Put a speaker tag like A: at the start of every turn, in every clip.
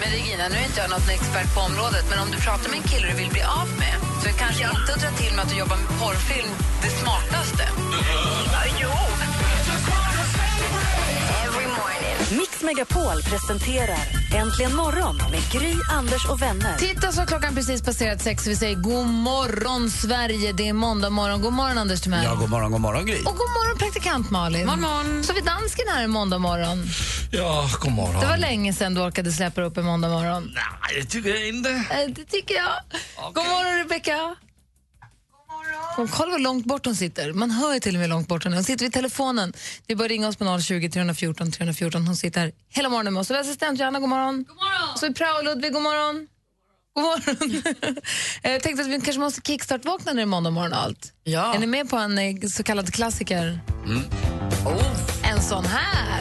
A: Men Regina, nu är inte jag någon expert på området men om du pratar med en kille du vill bli av med så är kanske inte att dra till med att du jobbar med porrfilm det smartaste.
B: Mix Megapol presenterar Äntligen morgon med Gry, Anders och vänner.
C: Titta så har klockan precis passerat sex. Vi säger god morgon, Sverige. Det är måndag morgon. God morgon, Anders Timell.
D: Ja, god morgon, god morgon Gry.
C: Och god morgon, praktikant Malin. Morgon, morgon. Så vi dansken här en måndag morgon.
D: Ja, god morgon.
C: Det var länge sedan du orkade släppa upp en måndag morgon.
D: Nej, det tycker jag inte.
C: Eh, Det tycker jag. God morgon, Rebecka. Hon kollar vad långt bort hon sitter. Man hör ju till och med långt bort hon är. Hon sitter vid telefonen. Det är bara att ringa oss på 020 314 314. Hon sitter här hela morgonen med oss. Och vi har assistent Johanna, god morgon. God morgon. Så är Prao och Ludvig, god morgon. God morgon. Jag tänkte att vi kanske måste kickstart-vakna när det är måndag morgon och allt. Ja. Är ni med på en eh, så kallad klassiker? Oh. En sån här.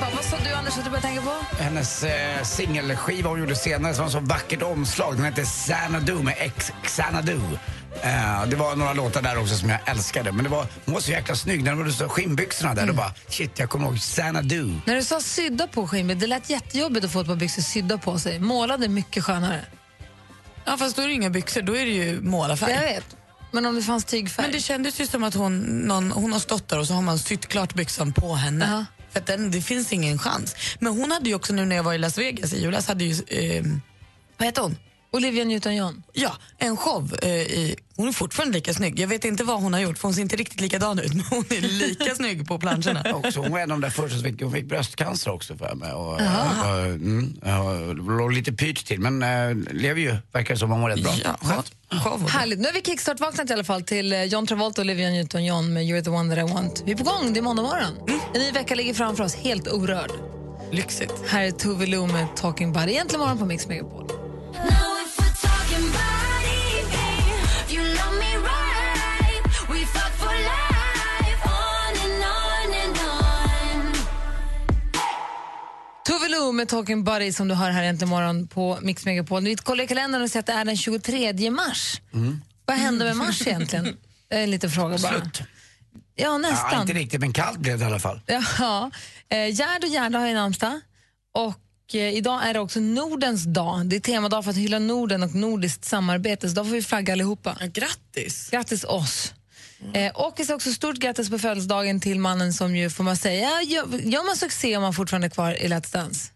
C: Bara, Vad sa du Anders att du började tänka på?
E: Hennes eh, singelskiva hon gjorde senare som var så vackert omslag. Den hette Xanadu med X Xanadu. Eh, det var några låtar där också som jag älskade. Men det var, hon var så jäkla snygg. När hon hade så skinnbyxorna där,
D: Mm.
E: då bara shit, jag kommer ihåg Xanadu.
C: När du sa sydda på skinnet, det lät jättejobbigt att få ett par byxor sydda på sig. Målade är mycket skönare.
F: Ja, fast då är det inga byxor, då är det ju
C: Jag
F: målarfärg.
C: vet. Men om det fanns tygfärg.
F: Men det kändes ju som att hon, någon, hon har stått där och så har man sytt klart byxan på henne.
C: Ja.
F: För att den, det finns ingen chans. Men hon hade ju också nu när jag var i Las Vegas i julas, hade ju, eh, vad heter hon?
C: Olivia Newton-John.
F: Ja, en show. Eh, i, hon är fortfarande lika snygg. Jag vet inte vad hon har gjort för hon ser inte riktigt likadan ut men hon är lika snygg på planscherna.
E: Också, hon var en av de där första som fick, hon fick bröstcancer också för mig. Och, eh, eh, mm, eh, låg lite pyrt till men eh, lever ju, verkar som hon mår rätt bra.
F: Ja,
E: Skönt.
F: show.
C: Härligt. Nu har vi kickstart-vaknat i alla fall till eh, John Travolta och Olivia Newton-John med You're the one that I want. Vi är på gång, det är måndag morgon. En ny vecka ligger framför oss helt orörd.
F: Lyxigt.
C: Här är Tove Lo med Talking Buddy. Egentligen morgon på Mix Megapol. Tove Lo med Talking Buddy som du hör här äntligen morgon på Mix Megapol. Vi kollar i kalendern och ser att det är den 23 mars. Vad hände med mars egentligen? Det är en liten fråga bara.
E: Mm. Slut.
C: Ja, nästan.
E: Ja, inte riktigt men kallt blev det i alla fall.
C: Ja. Eh, Gerd och Gerda har ju namnsdag. Och eh, idag är det också Nordens dag. Det är temadag för att hylla Norden och nordiskt samarbete. Så då får vi flagga allihopa.
F: Ja, grattis.
C: Grattis oss!
E: Mm.
C: Eh, och vi säger också stort grattis på födelsedagen till mannen som ju, får man säga, gör, gör man succé om man fortfarande är kvar i Let's Dance?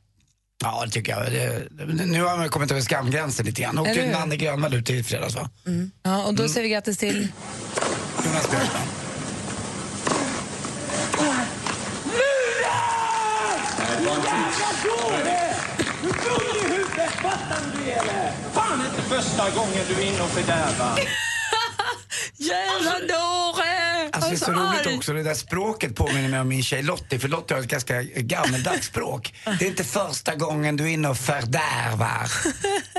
E: Ja, det tycker jag. Det, det- nu har man kommit över skamgränsen lite grann.
C: Eller
E: Åkte ju
C: hur? Mm.
E: Nanne Grönvall ut i fredags va?
C: Ja, och då
E: Mm.
C: säger vi grattis till...
E: Jonas Björkman.
G: Fan inte första gången du är inne och fördärvar.
C: Jävla dåre!
E: Alltså, det är så roligt också, det där språket påminner mig om min tjej Lottie, för Lottie har ett ganska gammeldags språk. Det är inte första gången du är inne och fördärvar.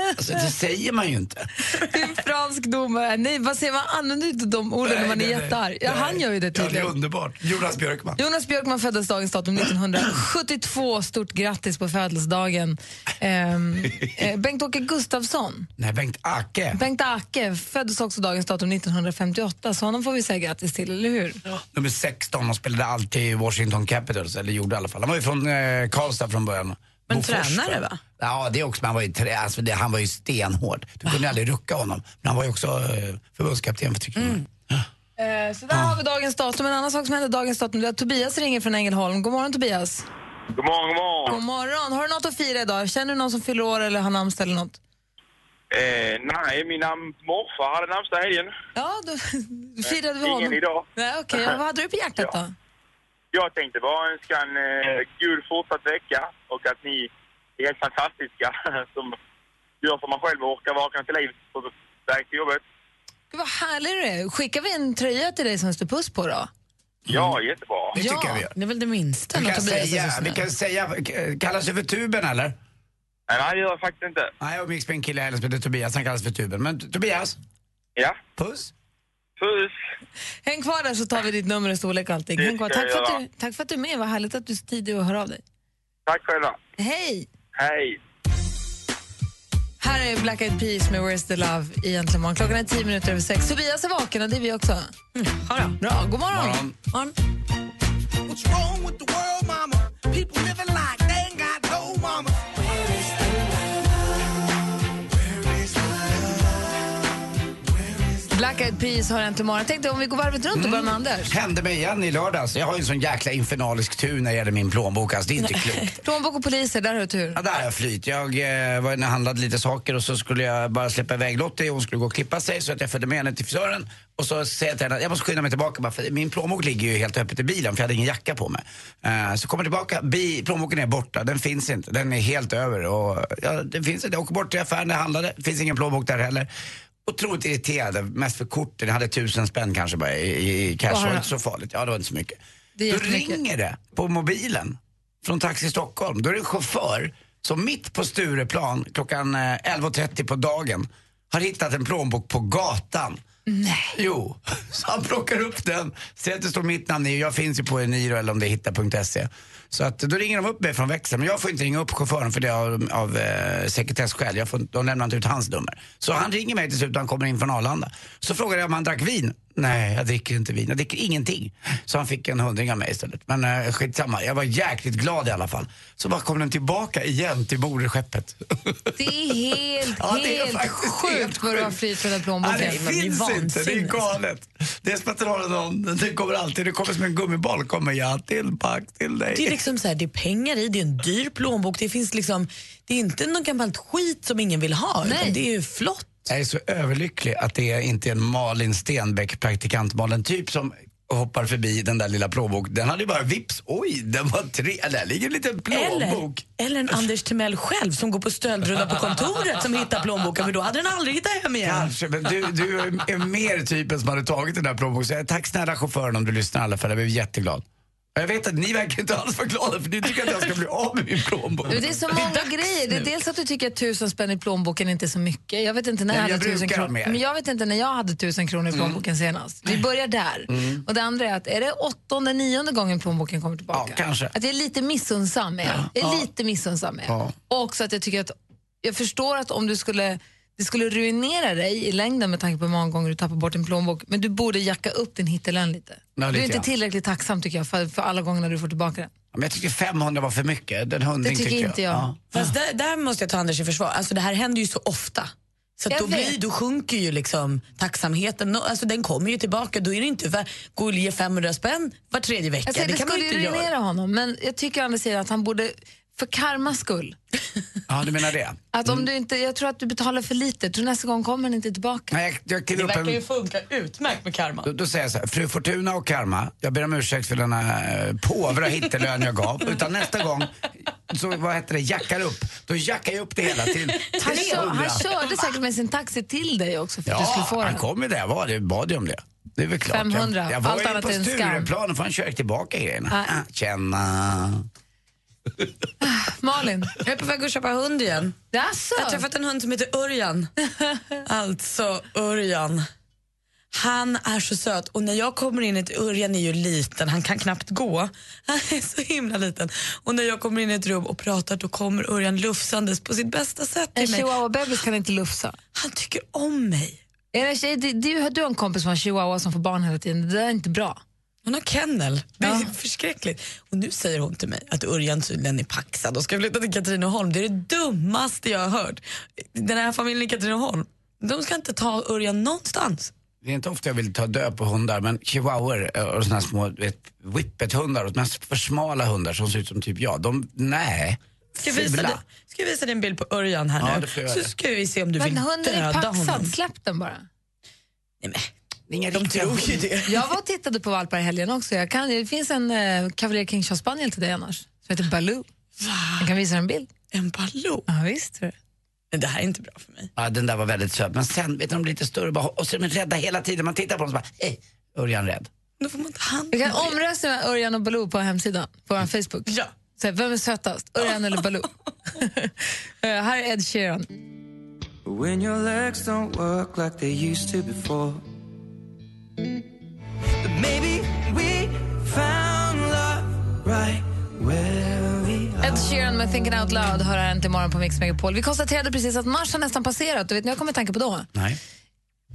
E: Alltså, det säger man ju inte.
C: Det är en fransk domare. Nej, vad säger man? Använder inte de orden när man är
E: Nej, nej,
C: jättearg?
E: nej.
C: Ja, han gör ju det
E: Ja, det är
C: tydligen.
E: underbart. Jonas Björkman.
C: Jonas Björkman föddes dagens datum 1972. Stort grattis på födelsedagen. Ehm, eh, Bengt-Åke Gustafsson,
E: Nej, Bengt Ake.
C: Bengt Ake, föddes också dagens datum 1958. Så honom får vi säga grattis till, eller hur?
E: Nummer 16, han spelade alltid i Washington Capitals, eller gjorde i alla fall. Han var ju från eh, Karlstad från början.
F: Men
E: Bofors,
F: tränare,
E: tror jag.
F: va?
E: Ja, det också. Men han var ju, trä, alltså, det, han var ju stenhård. Du kunde aldrig rucka honom. Men han var ju också eh, förbundskapten för Tyskland.
C: Eh, Så där har vi dagens datum. En annan sak som hände dagens datum det är att Tobias ringer från Ängelholm. God morgon Tobias.
G: God morgon, god
C: God
G: morgon.
C: morgon. Har du något att fira idag? Känner du någon som fyller år eller har namnsdag eller något?
G: Eh, nej, min nam- morfar hade namnsdag i helgen.
C: Ja, då firade vi
G: ingen
C: honom.
G: idag.
C: Nej, okej. Vad hade du på hjärtat då?
H: Jag tänkte bara önska en eh, kul fortsatt vecka och att ni är helt fantastiska som gör så man själv orkar vakna till liv på väg till jobbet.
C: Gud, vad härlig du är. Skickar vi en tröja till dig som det står puss på då?
H: Ja, jättebra.
E: Det tycker jag vi gör.
C: det är väl det minsta.
E: Vi
C: när
E: kan,
C: Tobias är så
E: säga, vi
C: snäll.
E: kan säga, eh, kallas du för tuben eller?
H: Nej, det gör jag faktiskt inte.
E: Nej, jag umgicks med en kille i helgen som heter Tobias, han kallas för tuben. Men Tobias?
H: Ja?
E: Puss?
H: Puss!
C: Häng kvar där så tar vi ditt nummer och storlek och allting.
H: Det
C: Häng kvar.
H: ska
C: Tack, för
H: jag
C: att
H: göra.
C: du, tack för att du är med. Vad härligt att du är så tidig och hör av dig.
H: Tack själva.
C: Hej!
H: Hej!
C: Här är Black Eyed Peas med Where's the Love i Äntligen morgon. Klockan är tio minuter över sex. Tobias är vaken och det är vi också. Mm. Bra, god morgon.
E: morgon.
C: morgon.
I: What's wrong with the world, mama? People living like they ain't got no mama. Where is the love? Where is the
C: Black Eyed Peas har Äntligen morgon. Jag tänkte om vi går varvet runt och börjar
E: Mm.
C: med Anders.
E: Hände mig igen i lördags. Jag har ju en sån jäkla infernalisk tur när det gäller min plånbok. Alltså, det är inte klokt.
C: Plånbok och poliser, där har du tur.
E: Ja, där har jag flyt. Jag eh, var inne och handlade lite saker och så skulle jag bara släppa iväg Lottie. Hon skulle gå och klippa sig så att jag följde med henne till frisören. Och så säger jag till henne att jag måste skynda mig tillbaka bara, för min plånbok ligger ju helt öppet i bilen för jag hade ingen jacka på mig. Eh, så kommer jag tillbaka, bi, plånboken är borta, den finns inte. Den är helt över. Och, ja, den finns inte. Jag åker bort till affären där jag handlade, det finns ingen plånbok där heller. Otroligt irriterad, mest för korten. Jag hade tusen spänn kanske bara i, i, i cash. Det var inte så farligt. Ja, det var inte så mycket.
C: Det är
E: Då
C: jättemycket.
E: ringer det på mobilen från Taxi Stockholm. Då är det en chaufför som mitt på Stureplan klockan eh, 11.30 på dagen har hittat en plånbok på gatan.
C: Nej.
E: Jo, så han plockar upp den, ser att det står mitt namn i och jag finns ju på Eniro eller om det är hitta.se. Så att då ringer de upp mig från växeln, men jag får inte ringa upp chauffören för det av, av eh, sekretesskäl. Jag får, inte- de lämnar inte ut hans nummer. Så han ringer mig till slut när han kommer in från Arlanda. Så frågar jag om han drack vin. Nej, jag dricker inte vin. Jag dricker ingenting. Så han fick en hundring av mig istället. Men eh, skitsamma, jag var jäkligt glad i alla fall. Så bara kom den tillbaka igen till moderskeppet.
C: Det är helt,
E: Ja, det är
C: helt
E: faktiskt helt
C: sjukt vad du har
E: sjukt.
C: flytt från den plånboken.
E: Ja, det finns inte, det är
C: vansinnigt.
E: galet. Det är som att den har någon, det kommer alltid, det kommer som en gummiboll, kommer jag till pack till dig.
F: Det är liksom så här, det är pengar i, det är en dyr plånbok. Det finns liksom, det är inte någon gammalt skit som ingen vill ha.
C: Nej.
F: Utan det är ju flott.
E: Jag är så överlycklig att det är inte är en Malin Stenbeck, praktikant Malin typ som hoppar förbi den där lilla plånboken. Den hade ju bara vips, oj, den var tre, där ligger en liten
F: Eller,
E: plånbok.
F: eller en Anders Timell själv som går på stöldrunda på kontoret som hittar plånboken för då hade den aldrig hittat hem igen.
E: Kanske, men du, du är- är mer typen som hade tagit den där plånboken. Så jag, Tack snälla chauffören om du lyssnar i alla fall, jag blev jätteglad. Jag vet att ni verkar inte alls vara glada för ni tycker att jag ska bli av med min plånbok.
C: Men Det är så många grejer. Det är dels att du tycker att tusen spänn i plånboken inte är så mycket. Jag vet inte när jag,
E: Nej, men jag
C: hade tusen
E: brukar ha
C: kronor.
E: mer.
C: Men jag vet inte när jag hade tusen kronor i plånboken senast. Vi börjar där.
E: Mm.
C: Och det andra är att är det åttonde, nionde gången plånboken kommer tillbaka?
E: Ja, kanske.
C: Att jag är lite missunnsam med er. Jag är
E: Ja.
C: lite missunnsam med er.
E: Ja.
C: Och också att jag tycker att jag förstår att om du skulle det skulle ruinera dig i längden med tanke på hur många gånger du tappar bort din plånbok. Men du borde jacka upp din hittelön lite.
E: Ja,
C: du
E: lite
C: är inte
E: grann.
C: tillräckligt tacksam tycker jag för, för alla gångerna du får tillbaka den.
E: Ja, Men jag tycker 500 var för mycket. Den
C: Det
E: hundring
C: tycker inte jag.
E: Ja.
F: Fast där, där måste jag ta Anders i försvar. Alltså det här händer ju så ofta. Så att
C: Jag
F: då, blir,
C: vet.
F: då sjunker ju liksom tacksamheten. Nå- Alltså den kommer ju tillbaka. Då är det inte värt gå och ge 500 spänn var tredje vecka.
C: Jag säger, det,
F: Alltså, det kan man
C: skulle
F: ju
C: ju
F: inte
C: ruinera
F: göra.
C: honom, men jag tycker Anders säger att han borde, för karmas skull,
E: ja, du menar det.
C: att om du inte, jag tror att du betalar för lite, jag tror nästa gång kommer den inte tillbaka.
E: Nej, jag, jag kliver upp en...
F: funka utmärkt med karma.
E: Då, då säger jag så här, fru Fortuna och karma, jag ber om ursäkt för denna eh, påvra hittelön jag gav. Utan nästa gång, så vad heter det, jackar upp. Då jackar jag upp det hela till
C: Han, kör,
E: 300.
C: han körde säkert med sin taxi till dig också för att du skulle
E: Ja,
C: få
E: han
C: den.
E: kom ju där, jag var det, bad ju om det. Det är väl klart.
C: 500,
E: Jag, jag var
C: allt
E: ju
C: annat
E: på
C: är en skam.
E: Stureplan, för han kör tillbaka grejerna.
C: Nej.
E: Ah, Tjena.
C: Malin?
F: Jag är på väg att köpa hund igen.
C: Jaså?
F: Jag har träffat en hund som heter Örjan. alltså Örjan. Han är så söt och när jag kommer in i ett Örjan är ju liten, han kan knappt gå. Han är så himla liten. Och när jag kommer in i ett rum och pratar då kommer Örjan lufsandes på sitt bästa sätt
C: En
F: till mig.
C: chihuahua-bebis kan inte lufsa.
F: Han tycker om mig.
C: Är det, tjej- det, det, du har en kompis som har en chihuahua som får barn hela tiden, det där är inte bra.
F: Hon har kennel. Det är förskräckligt. Och nu säger hon till mig att Örjan tydligen är paxad och ska flytta till Katrineholm. Det är det dummaste jag har hört. Den här familjen i Katrineholm, de ska inte ta Örjan någonstans.
E: Det är inte ofta jag vill ta död på hundar, men chihuahuor eh, och såna här små du vet, whippet-hundar, och de här för smala hundar som ser ut som typ jag, de, nej.
F: Ska jag visa,
E: Fula.
F: dig, ska jag visa dig en bild på Örjan här
E: Ja,
F: nu?
E: det får jag
F: Så
E: göra.
F: ska vi se om du
C: Men
F: vill
C: hunden är
F: döda
C: paxad,
F: honom.
C: släpp den bara.
F: inga De tror ju det.
C: Jag var och tittade på valpar i helgen också. Jag kan, det finns en eh, Cavalier King Charles Spaniel till dig annars, som heter Baloo. Jag kan visa dig en bild.
F: En Baloo?
C: Ja, visst. tror jag.
F: Men det här är inte bra för mig.
E: Ja, den där var väldigt söt. Men sen, vet du, de blir lite större bara, och så är de rädda hela tiden. Man tittar på dem och så bara, hej, Örjan rädd.
F: Då får man ta hand
C: Vi kan omrösta med Örjan och Baloo på hemsidan, på
E: Mm.
C: vår Facebook. Ja. Så här, vem är sötast, Örjan eller Baloo? Eh, här är Ed Sheeran.
I: When your legs don't work like they used to before. But maybe we found love right where we
C: Ed Sheeran med Thinking Out Loud hör här äntligen imorgon på Mix Megapol. Vi konstaterade precis att mars har nästan passerat och vet ni vad jag kom i tanke på då?
E: Nej.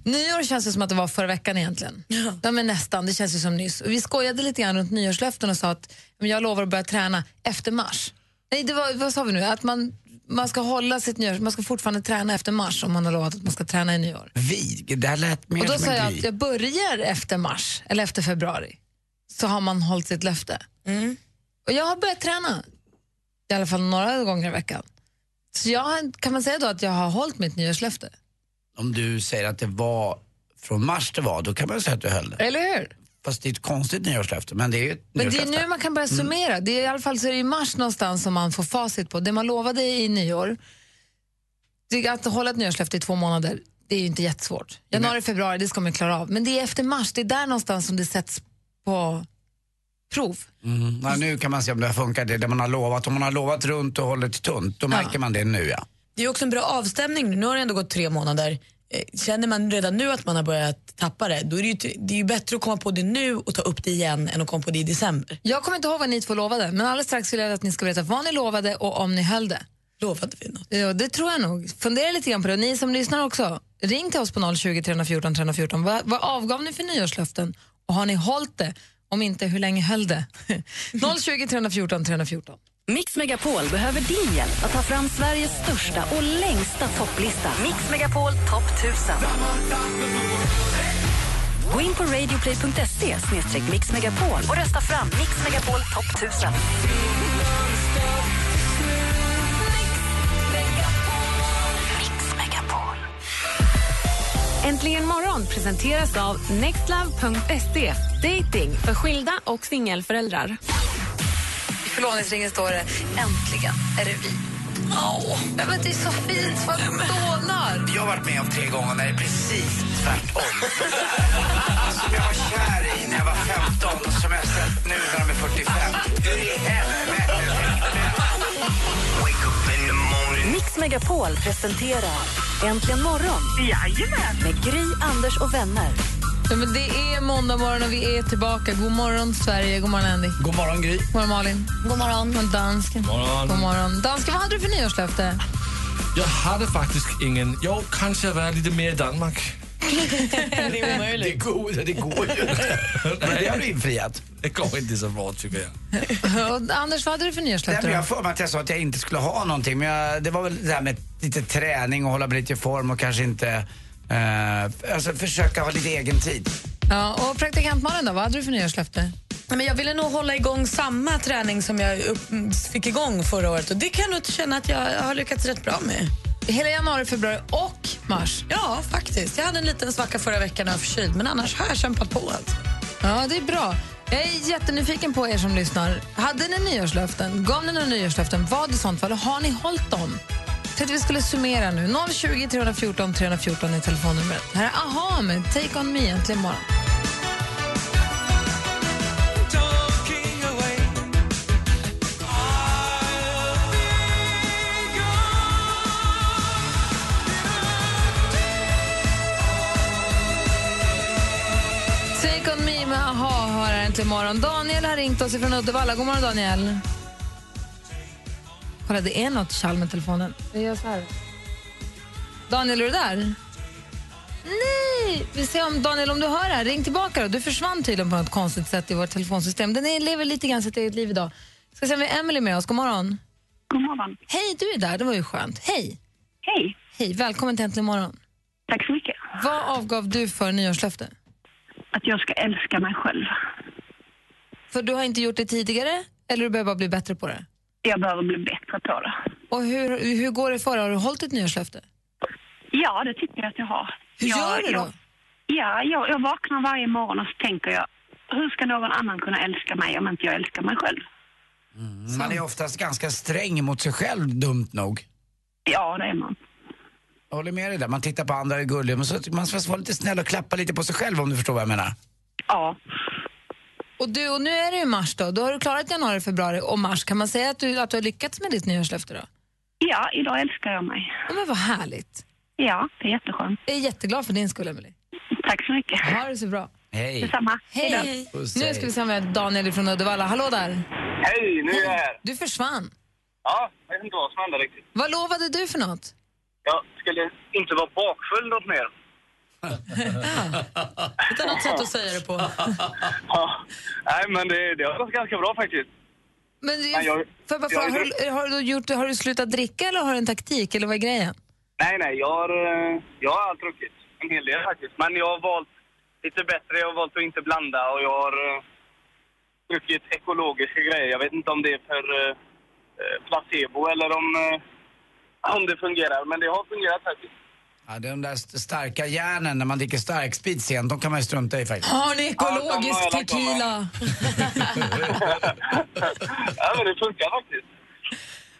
C: Nyår känns ju som att det var förra veckan egentligen. Ja. men nästan, det känns ju som nyss. Och vi skojade lite grann runt nyårslöften och sa att men jag lovar att börja träna efter mars. Nej, det var, vad sa vi nu? Att man, man ska hålla sitt nyår, man ska fortfarande träna efter mars om man har lovat att man ska träna i nyår.
E: Vi, det här lät mer
C: Och då
E: som
C: sa jag
E: en
C: att
E: gry.
C: jag börjar efter mars, eller efter februari, så har man hållit sitt löfte. Och jag har börjat träna, i alla fall några gånger i veckan. Så jag, har- kan man säga då att jag har hållit mitt nyårslöfte?
E: Om du säger att det var från mars det var, då kan man ju säga att du höll det.
C: Eller hur?
E: Fast det är ett konstigt nyårslöfte, men det är ju ett
C: Men det är
E: nyårslöfte. Mm.
C: nu man kan börja summera. Det är, I alla fall så är det i mars någonstans som man får facit på. Det man lovade i nyår, det är att hålla ett nyårslöfte i två månader, det är ju inte jättesvårt. Januari, februari, det ska man klara av. Men det är efter mars, det är där någonstans som det sätts på prov.
E: Mm. Ja, nu kan man se om det har funkat, det är det man har lovat. Om man har lovat runt och hållit tunt, då märker man det nu ja.
F: Det är också en bra avstämning. nu. Nu har det ändå gått tre månader. Eh, Känner man redan nu att man har börjat tappa det, då är det ju, t- det är ju bättre att komma på det nu och ta upp det igen än att komma på det i december.
C: Jag kommer inte ihåg vad ni två lovade, men alldeles strax vill jag att ni ska berätta vad ni lovade och om ni höll det.
F: Lovade vi något?
C: Ja, det tror jag nog. Fundera lite grann på det. Och Ni som lyssnar också, ring till oss på 020 314 314. Vad, vad avgav ni för nyårslöften och har ni hållit det? Om inte, hur länge höll det? 020 314 314.
B: Mix Megapol behöver din hjälp att ta fram Sveriges största och längsta topplista. Mix Megapol topp 1000. Gå in på radioplay.se mixmegapol och rösta fram Mix Megapol topp 1000.
J: Äntligen morgon presenteras av nextlove.se. Dating för skilda och singelföräldrar.
C: I förlovningsringen står det Äntligen är det vi. Åh, men det är så fint, vad det dånar.
E: Jag har varit med om tre gånger när det är precis tvärtom. som jag var kär i när jag var 15 och som jag sett nu när de är 45. Hur i
B: Mix Megapol presenterar Äntligen morgon med Gry, Anders och vänner.
C: Ja, men det är måndag morgon och vi är tillbaka. God morgon, Sverige. God morgon, Andy.
D: God morgon, Gry.
C: God morgon, Malin. God morgon. God dansken.
D: God morgon.
C: God morgon. Dansken, vad hade du för nyårslöfte?
D: Jag hade faktiskt ingen. Jo, kanske att vara lite mer i Danmark.
F: det är omöjligt.
E: Det går, det går ju inte. Men det har du infriat.
D: Det går inte så bra, tycker jag.
C: Och Anders, vad hade du för
E: Nej,
C: nyårslöfte?
E: men jag har
C: då?
E: för mig att jag sa att jag inte skulle ha någonting. Men jag, det var väl det här med lite träning och hålla mig lite i form och kanske inte... Eh, alltså försöka ha lite egen tid.
C: Ja, och praktikant Malin, då, vad hade du för nyårslöfte?
F: Men jag ville nog hålla igång samma träning som jag upp, m, fick igång förra året och det kan jag nog känna att jag har lyckats rätt bra med.
C: Hela januari, februari och mars?
F: Ja, faktiskt. Jag hade en liten svacka förra veckan och är förkyld, men annars har jag kämpat på. Alltså.
C: Ja, det är bra. Jag är jättenyfiken på er som lyssnar. Hade ni nyårslöften? Gav ni några nyårslöften? Vad i sånt fall? Och Har ni hållit dem? Så att vi skulle summera nu. 020 314 314 är telefonnumret. Här är Aha med Take On Me äntligen morgon.
I: Talking away.
C: Take On Me med Aha har här äntligen morgon. Daniel har ringt oss från Uddevalla. God morgon, Daniel. Kolla, det är något tjall med telefonen. Vi gör så här. Daniel, är du där? Nej! Vi ser om Daniel, om du hör det här, ring tillbaka då. Du försvann tydligen på något konstigt sätt i vårt telefonsystem. Den är, lever lite grann sitt eget liv idag. Ska se om vi har Emily med oss. God morgon.
K: God morgon.
C: Hej, du är där. Det var ju skönt. Hej!
K: Hej!
C: Hej, välkommen till Äntligen morgon.
K: Tack så mycket.
C: Vad avgav du för nyårslöfte?
K: Att jag ska älska mig själv.
C: För du har inte gjort det tidigare, eller du behöver bara bli bättre på det?
K: Jag behöver bli bättre på det.
C: Och hur, hur går det för dig? Har du hållit ett nyårslöfte?
K: Ja, det tycker jag att jag har.
C: Hur
K: jag,
C: gör du då?
K: Jag, Ja, jag, jag vaknar varje morgon och så tänker jag, hur ska någon annan kunna älska mig om inte jag älskar mig själv?
E: Man är oftast ganska sträng mot sig själv, dumt nog.
K: Ja, det är man.
E: Jag håller med dig där. Man tittar på andra är gulliga, men så, man ska vara lite snäll och klappa lite på sig själv om du förstår vad jag menar.
K: Ja.
C: Och, du, och nu är det ju mars då. Då har du klarat januari, februari och mars. Kan man säga att du, att du har lyckats med ditt nyårslöfte då?
K: Ja, idag älskar jag mig.
C: Ja, men vad härligt.
K: Ja, det är jätteskönt.
C: Jag är jätteglad för din skull, Emily.
K: Tack så mycket.
C: Ha det så bra.
E: Hej.
K: Detsamma.
C: Hej.
K: Hej då.
C: Nu
K: Puss,
C: ska vi se med Daniel från Uddevalla. Hallå där.
L: Hej, nu är jag här.
C: Du försvann.
L: Ja, jag vet inte vad som hände riktigt.
C: Vad lovade du för något?
L: Jag skulle inte vara bakfull något mer.
F: Ett annat sätt att säga det på.
L: Ja. Nej, men det, det har gått ganska bra faktiskt.
C: Men det,
L: Nej, jag-
C: får jag bara
L: jag
C: fråga,
L: har ju druck-
C: har, har, du då gjort, har du slutat dricka eller har du en taktik eller vad är grejen?
L: Nej, nej, jag har, eh, jag har allt druckit. En hel del faktiskt. Men jag har valt lite bättre. Jag har valt att inte blanda och jag har eh, druckit ekologiska grejer. Jag vet inte om det är för eh, eh, placebo eller om, eh, om det fungerar. Men det har fungerat faktiskt.
E: Ja, de där st- starka järnen när man dricker starksprit sent, de kan man ju strunta i faktiskt.
C: Har ni ekologisk
E: Ja, de har jag lagt av med.
C: tequila?
L: Ja, men det funkar faktiskt.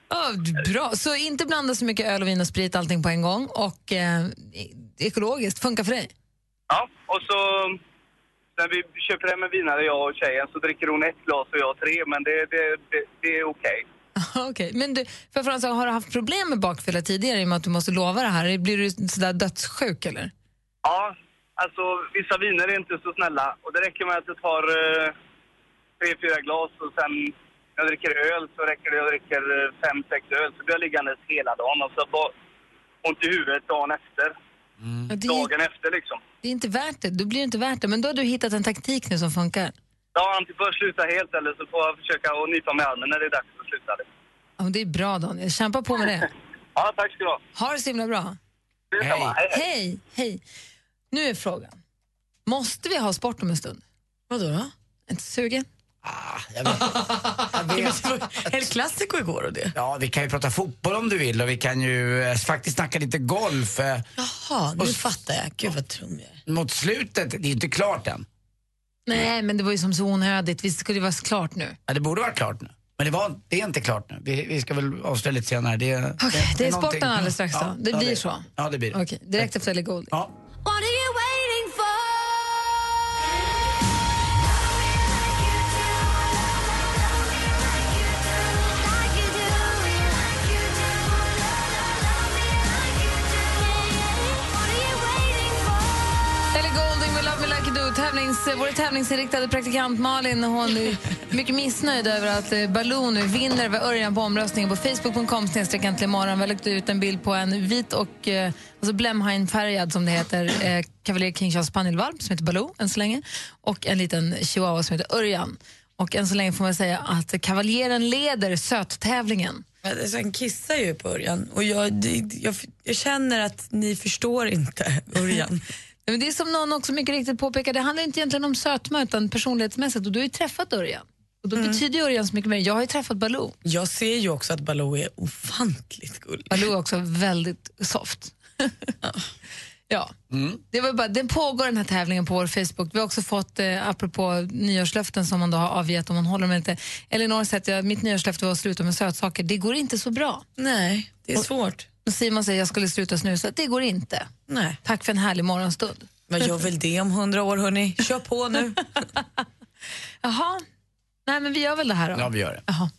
C: Ja, bra. Så inte blanda så mycket öl, och vin och sprit allting på en gång och eh, e- ekologiskt, funkar för dig?
L: Ja, och så mm, när vi köper hem en vinare, jag och tjejen, så dricker hon ett glas och jag tre. Men det, det, det, det är okej.
C: Okej, men du, för fråga, en sak, har du haft problem med bakfylla tidigare i och med att du måste lova det här? Blir du sådär dödssjuk eller?
L: Ja, alltså vissa viner är inte så snälla. Och det räcker med att jag tar eh, tre, fyra glas och sen när jag dricker öl så räcker det att jag dricker eh, fem, sex öl. Så blir jag liggandes hela dagen och så bara ont i huvudet dagen efter.
C: Ja, det, är,
L: Dagen efter liksom.
C: det är inte värt det, då blir det inte värt det. Men då har du hittat en taktik nu som funkar.
L: Ja, antingen får jag sluta helt eller så får jag försöka att nypa mig i armen när det är dags att sluta. det.
C: Ja, men det är bra Daniel, kämpa på med det.
L: Ja, tack ska du ha.
C: Ha det så himla bra.
L: Detsamma.
C: Hej. hej, Nu är frågan, måste vi ha sport om en stund?
F: Vadå då?
C: Inte sugen?
E: Ah,
F: El Clasico igår och det.
E: Ja, vi kan ju prata fotboll om du vill och vi kan ju eh, faktiskt snacka lite golf. eh,
F: Jaha, nu fattar jag. Gud vad trum jag är.
E: Mot slutet, det är ju inte klart än.
C: Nej, men det var ju som så onödigt. Vi skulle ju vara klart nu.
E: Ja, det borde vara klart nu. Men det, var, det är inte klart nu. Vi, vi ska väl avslöja lite senare. Det, okay,
C: Det är sporten alldeles strax då. Det blir så.
E: Ja, det blir det.
C: Okej, direkt efter Ellie Goulding.
E: Ja.
I: What are you waiting for?
C: Ellie Goulding med Love Me Like You Do. Tävlings, vår tävlingsinriktade praktikant Malin hon är mycket missnöjd över att eh, Baloo nu vinner över Örjan på omröstningen på facebook.com snedstreck äntligen morgon. Vi har lagt ut en bild på en vit och eh, alltså blämhainfärgad som det heter eh, Cavalier King Charles spanielvalp som heter Baloo än så länge och en liten chihuahua som heter Örjan. Och än så länge får man säga att kavaljeren leder söttävlingen.
F: Men Alltså, han kissar ju på Örjan och jag, det- jag, jag känner att ni förstår inte Örjan.
C: Nej, Men det är som någon också mycket riktigt påpekar, det handlar inte egentligen om sötma utan personlighetsmässigt och du har ju träffat Örjan. Och då
E: Mm.
C: betyder ju Örjan så mycket mer. Jag har ju träffat Baloo.
F: Jag ser ju också att Baloo är ofantligt gullig.
C: Baloo är också väldigt soft. ja,
E: Mm.
C: det var bara, den pågår den här tävlingen på vår Facebook. Vi har också fått, eh, apropå nyårslöften som man då har avgett om man håller dem eller inte. Elinor säger att jag, mitt nyårslöfte var att sluta med sötsaker. Det går inte så bra.
F: Nej, det är svårt.
C: Och Simon säger att jag skulle sluta snusa. Det går inte.
F: Nej.
C: Tack för en härlig morgonstund.
F: Vad gör väl det om hundra år hörni? Kör på nu.
C: Jaha, nej men vi gör väl det här då.
E: Ja, vi gör det.
C: Jaha.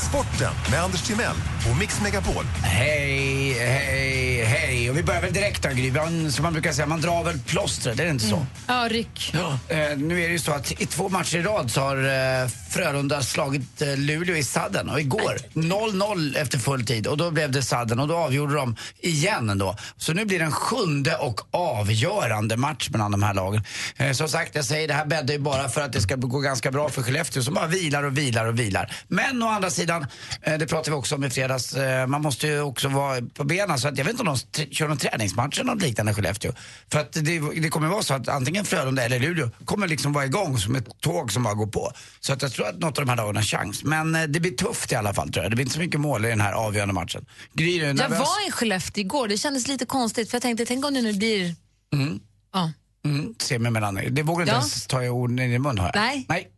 M: Sporten med Anders Timell och Mix Megapol.
E: Hej, hej, hej. Och vi börjar väl direkt då, Gry. Man- Som man brukar säga, man drar väl plåstret, är det inte så?
C: Ja, ryck.
E: Ja. Eh, nu är det ju så att i två matcher i rad så har eh, Frölunda slagit eh, Luleå i sadden och igår 0-0 efter full tid och då blev det sadden och då avgjorde de igen då. Så nu blir det en sjunde och avgörande match mellan de här lagen. Eh, som sagt, jag säger det här bäddar ju bara för att det ska gå ganska bra för Skellefteå som bara vilar och vilar och vilar. Men å andra sidan, eh, det pratade vi också om i fredags lördags. Eh, Man måste ju också vara på benen så att jag vet inte om de tr- kör någon träningsmatch eller något liknande i Skellefteå. För att det, det kommer vara så att antingen Frölunda eller Luleå kommer liksom vara igång som ett tåg som bara går på. Så att jag tror att något av de här dagarna har chans. Men eh, det blir tufft i alla fall tror jag. Det blir inte så mycket mål i den här avgörande matchen. Gry, är du
C: Jag
E: nervös?
C: var i Skellefteå igår, det kändes lite konstigt för jag tänkte, tänk om det nu blir...
E: Mm.
C: Ja.
E: Mm. Se mig mellan er. Det vågar inte
C: Ja.
E: ens ta i orden i din mun har jag.
C: Nej.
E: Nej.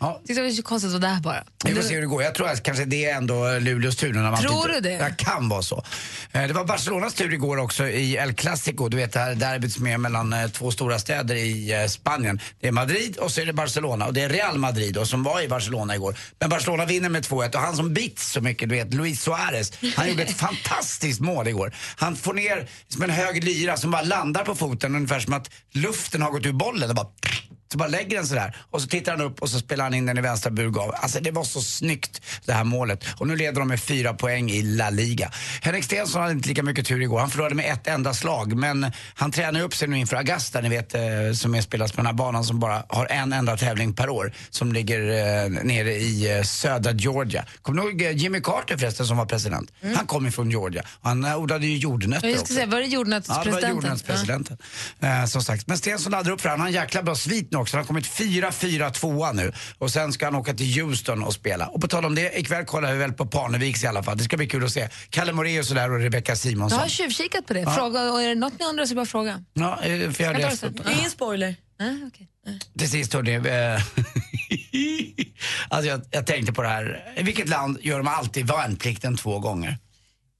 E: Ja.
C: Tyckte det var så konstigt att vara där bara.
E: Vi får se hur det går. Jag tror att kanske det är ändå Luleås tur. nu När man
C: Tror
E: inte-
C: du det?
E: Det kan vara så. Eh, Det var Barcelonas tur igår också i El Clasico. Du vet det här derbyt som är mellan eh, två stora städer i eh, Spanien. Det är Madrid och så är det Barcelona. Och det är Real Madrid då, som var i Barcelona igår. Men Barcelona vinner med 2-1 och han som bits så mycket, du vet, Luis Suarez. Han gjorde ett fantastiskt mål igår. Han får ner som en hög lyra som bara landar på foten ungefär som att luften har gått ur bollen. Och bara så bara lägger den sådär och så tittar han upp och så spelar han in den i vänstra burgav. Alltså det var så snyggt det här målet. Och nu leder de med fyra poäng i La Liga. Henrik Stenson hade inte lika mycket tur igår. Han förlorade med ett enda slag. Men han tränar ju upp sig nu inför Augusta, ni vet, eh, som är spelas på den här banan som bara har en enda tävling per år. Som ligger eh, nere i eh, södra Georgia. Kommer du ihåg eh, Jimmy Carter förresten som var president? Han kom ju från Georgia. Och han eh, odlade ju jordnötter
C: Mm. Ja, jag
E: också.
C: skulle säga, var det jordnötspresidenten?
E: Ja, det var jordnötspresidenten. Eh, som sagt. Men Stensson laddar upp för han har en jäkla bra svit nu också. Han har kommit 4-4-2 nu. Och sen ska han åka till Houston och spela. Och på tal om det, ikväll kollar vi väl på Parneviks i alla fall. Det ska bli kul att se. Kalle Moraeus och där och Rebecca
C: Jag
E: Simonsson.
C: har tjuvkikat på det.
E: Ja.
C: Fråga, och är det något ni undrar så bara fråga.
E: Ja, eh, för jag har
C: Jag tar
E: läst
C: det
E: upp.
C: sen.
E: Ja.
F: Ingen spoiler.
C: Nej, okej.
E: Till sist hörni, eh, alltså jag, jag tänkte på det här. I vilket land gör de alltid värnplikten två gånger?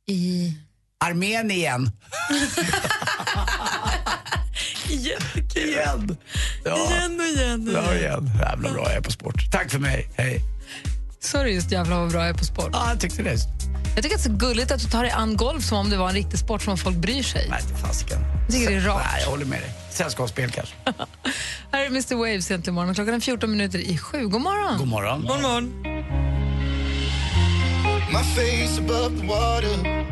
C: I...
E: Armenien. Igen. Ja.
F: Igen och igen. och
E: Ja, igen. Jävla bra jag är på sport. Tack för mig. Hej.
C: Sa du just jävlar vad bra jag är på sport?
E: Ja, jag tyckte det.
C: Jag tycker att det är så gulligt att du tar dig an golf som om det var en riktig sport som om folk bryr sig.
E: Nej, inte fasiken.
C: Jag tycker det är rart.
E: Nej, jag håller med dig. Sällskapsspel kanske.
C: Här är Mr Waves egentligen imorgon. Klockan är 14 minuter i sju. God morgon!
E: God morgon.
F: God morgon.
I: My face above the water.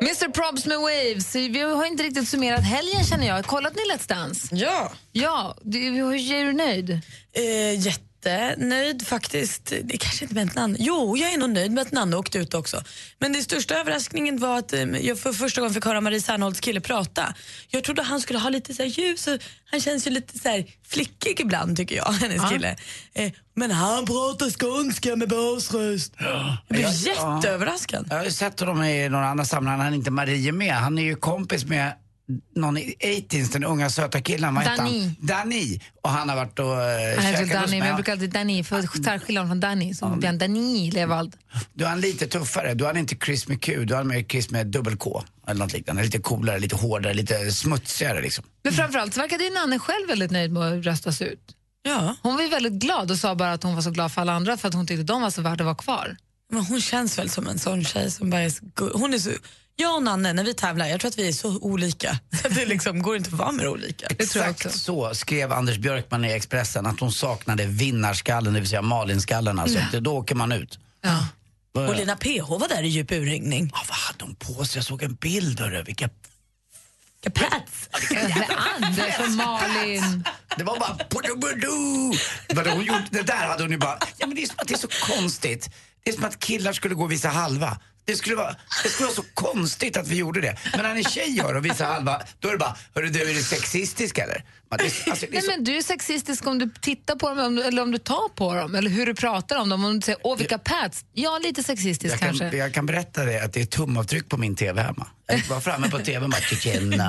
C: Mr Probs med Waves. Vi har inte riktigt summerat helgen känner jag. Kollat ni Let's Dance?
F: Ja.
C: Ja, du, hur är du nöjd?
F: Eh, jättenöjd faktiskt. Det kanske inte med att Nanne... Jo, jag är nog nöjd med att Nanne åkte ut också. Men det största överraskningen var att eh, jag för första gången fick höra Marie Serneholts kille prata. Jag trodde han skulle ha lite så här ljus och han känns ju lite så här flickig ibland tycker jag, hennes
I: Ja.
F: kille. Eh, men han pratar skånska med basröst. Jag blev jätteöverraskad.
E: Jag har ju sett honom i några andra sammanhang. Han är inte Marie med. Han är ju kompis med någon i 18s, den unga söta killen. Vad hette han?
C: Dani.
E: Dani. Och han har varit och
C: Han
E: eh,
C: heter
E: käkat hos
C: Danny,
E: mig.
C: men jag brukar alltid Danny för att särskilja honom från Danny. Som Björn Danny Levald.
E: Då är han lite tuffare. Då är han inte Chris med Q. Då är han mer Chris med dubbel K. Eller något liknande. Lite coolare, lite hårdare, lite smutsigare liksom.
C: Men framförallt så verkade ju Nanne själv väldigt nöjd med att röstas ut.
F: Ja.
C: Hon var ju väldigt glad och sa bara att hon var så glad för alla andra för att hon tyckte de var så värda att vara kvar.
F: Men hon känns väl som en sån tjej som bara är så gu- hon är så, Jag och Nanne, när vi tävlar, jag tror att vi är så olika. Så att det liksom går inte att vara mer olika.
E: Exakt så skrev Anders Björkman i Expressen att hon saknade vinnarskallen, det vill säga Malinskallen. Alltså.
F: Ja.
E: Det- Då åker man ut.
C: Ja.
F: Och Lina PH var där i djup urringning.
E: Ja, Ah, vad hade hon på sig? Jag såg en bild, hörru. Vilka...
F: Vilka pats!
C: Anders och Malin.
E: Det var bara... pudu-budu. Vad hon gjort? Det där hade hon ju bara... Ja, men det är som att det är så konstigt. Det är som att killar skulle gå och visa halva. Det skulle, vara, det skulle vara så konstigt att vi gjorde det. Men när en tjej gör och visar halva, då är det bara, hörru du, är du sexistisk eller? Men det- Alltså, det är
C: Nej,
E: så
C: men du är sexistisk om du tittar på dem eller om du, eller om du tar på dem eller hur du pratar om dem. Om du säger åh vilka pads. Ja, lite sexistisk
E: jag
C: kanske.
E: Kan, jag kan berätta det att det är tumavtryck på min TV hemma. Jag gick bara framme på TVn och bara tjena.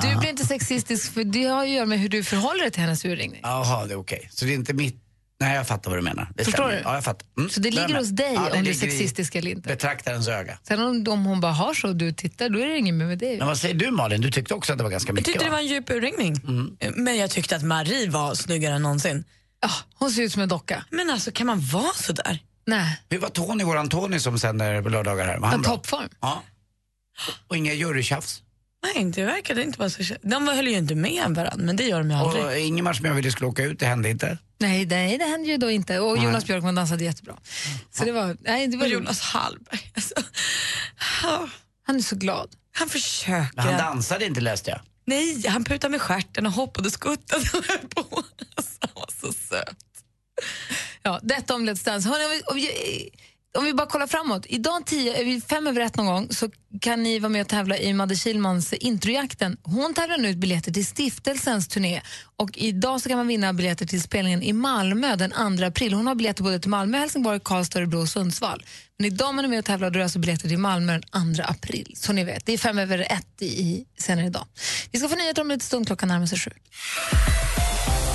C: Du blir inte sexistisk för det har ju att göra med hur du förhåller dig till hennes urringning.
E: Jaha, det är okej. Så det är inte mitt... Nej, jag fattar vad du menar. Det
C: Förstår
E: stämmer.
C: du?
E: Ja, jag fattar. Mm,
C: Så det
E: där
C: ligger
E: med.
C: hos dig
E: Ja, det
C: om du är
E: ligger i
C: sexistisk eller inte.
E: Betraktarens öga.
C: Sen om, om hon bara har så och du tittar, då är det inget mer med det.
E: Men vad säger du Malin? Du tyckte också att det var ganska
F: Jag
E: mycket
F: tyckte det
E: va?
F: var en djup urringning.
C: Mm.
F: Men jag tyckte att Marie var snyggare än någonsin.
C: Ja, hon ser ut som en docka.
F: Men alltså, kan man vara så där?
C: Nej.
E: Hur var Tony, våran Tony som sänder på lördagar här? Var han
F: Ja,
E: bra?
C: toppform.
E: Ja. Och inga jurytjafs?
F: Nej, det verkade inte vara så... kä- De höll ju inte med varandra, men det gör de ju aldrig.
E: Och Ingemar som jag ville skulle åka ut, det hände inte.
C: Nej, nej, det händer ju då inte. Och
E: Nej.
C: Jonas Björkman dansade jättebra. Så det var, nej, det var
F: Och Jonas Hallberg. alltså.
C: Han är så glad.
F: Han försöker.
E: Men han dansade inte läste jag.
F: Nej, han prutade med stjärten och hoppade och skuttade och höll på. Alltså, han var så söt.
C: Ja, detta om Let's Dance. Hörrni, om, vi, om, vi, om vi bara kollar framåt. Idag tio, är vi fem över ett någon gång så kan ni vara med och tävla i Madde Kilmans Introjakten. Hon tävlar nu ut biljetter till stiftelsens turné. Och idag så kan man vinna biljetter till spelningen i Malmö den 2 april. Hon har biljetter både till Malmö, Helsingborg, Karlstad, Örebro och Sundsvall. Men idag man är med och tävlar då är det alltså biljetter till Malmö den 2 april. Så ni vet, det är fem över ett i, i, senare idag. Vi ska få nyheter om lite stund, klockan närmar sig sju.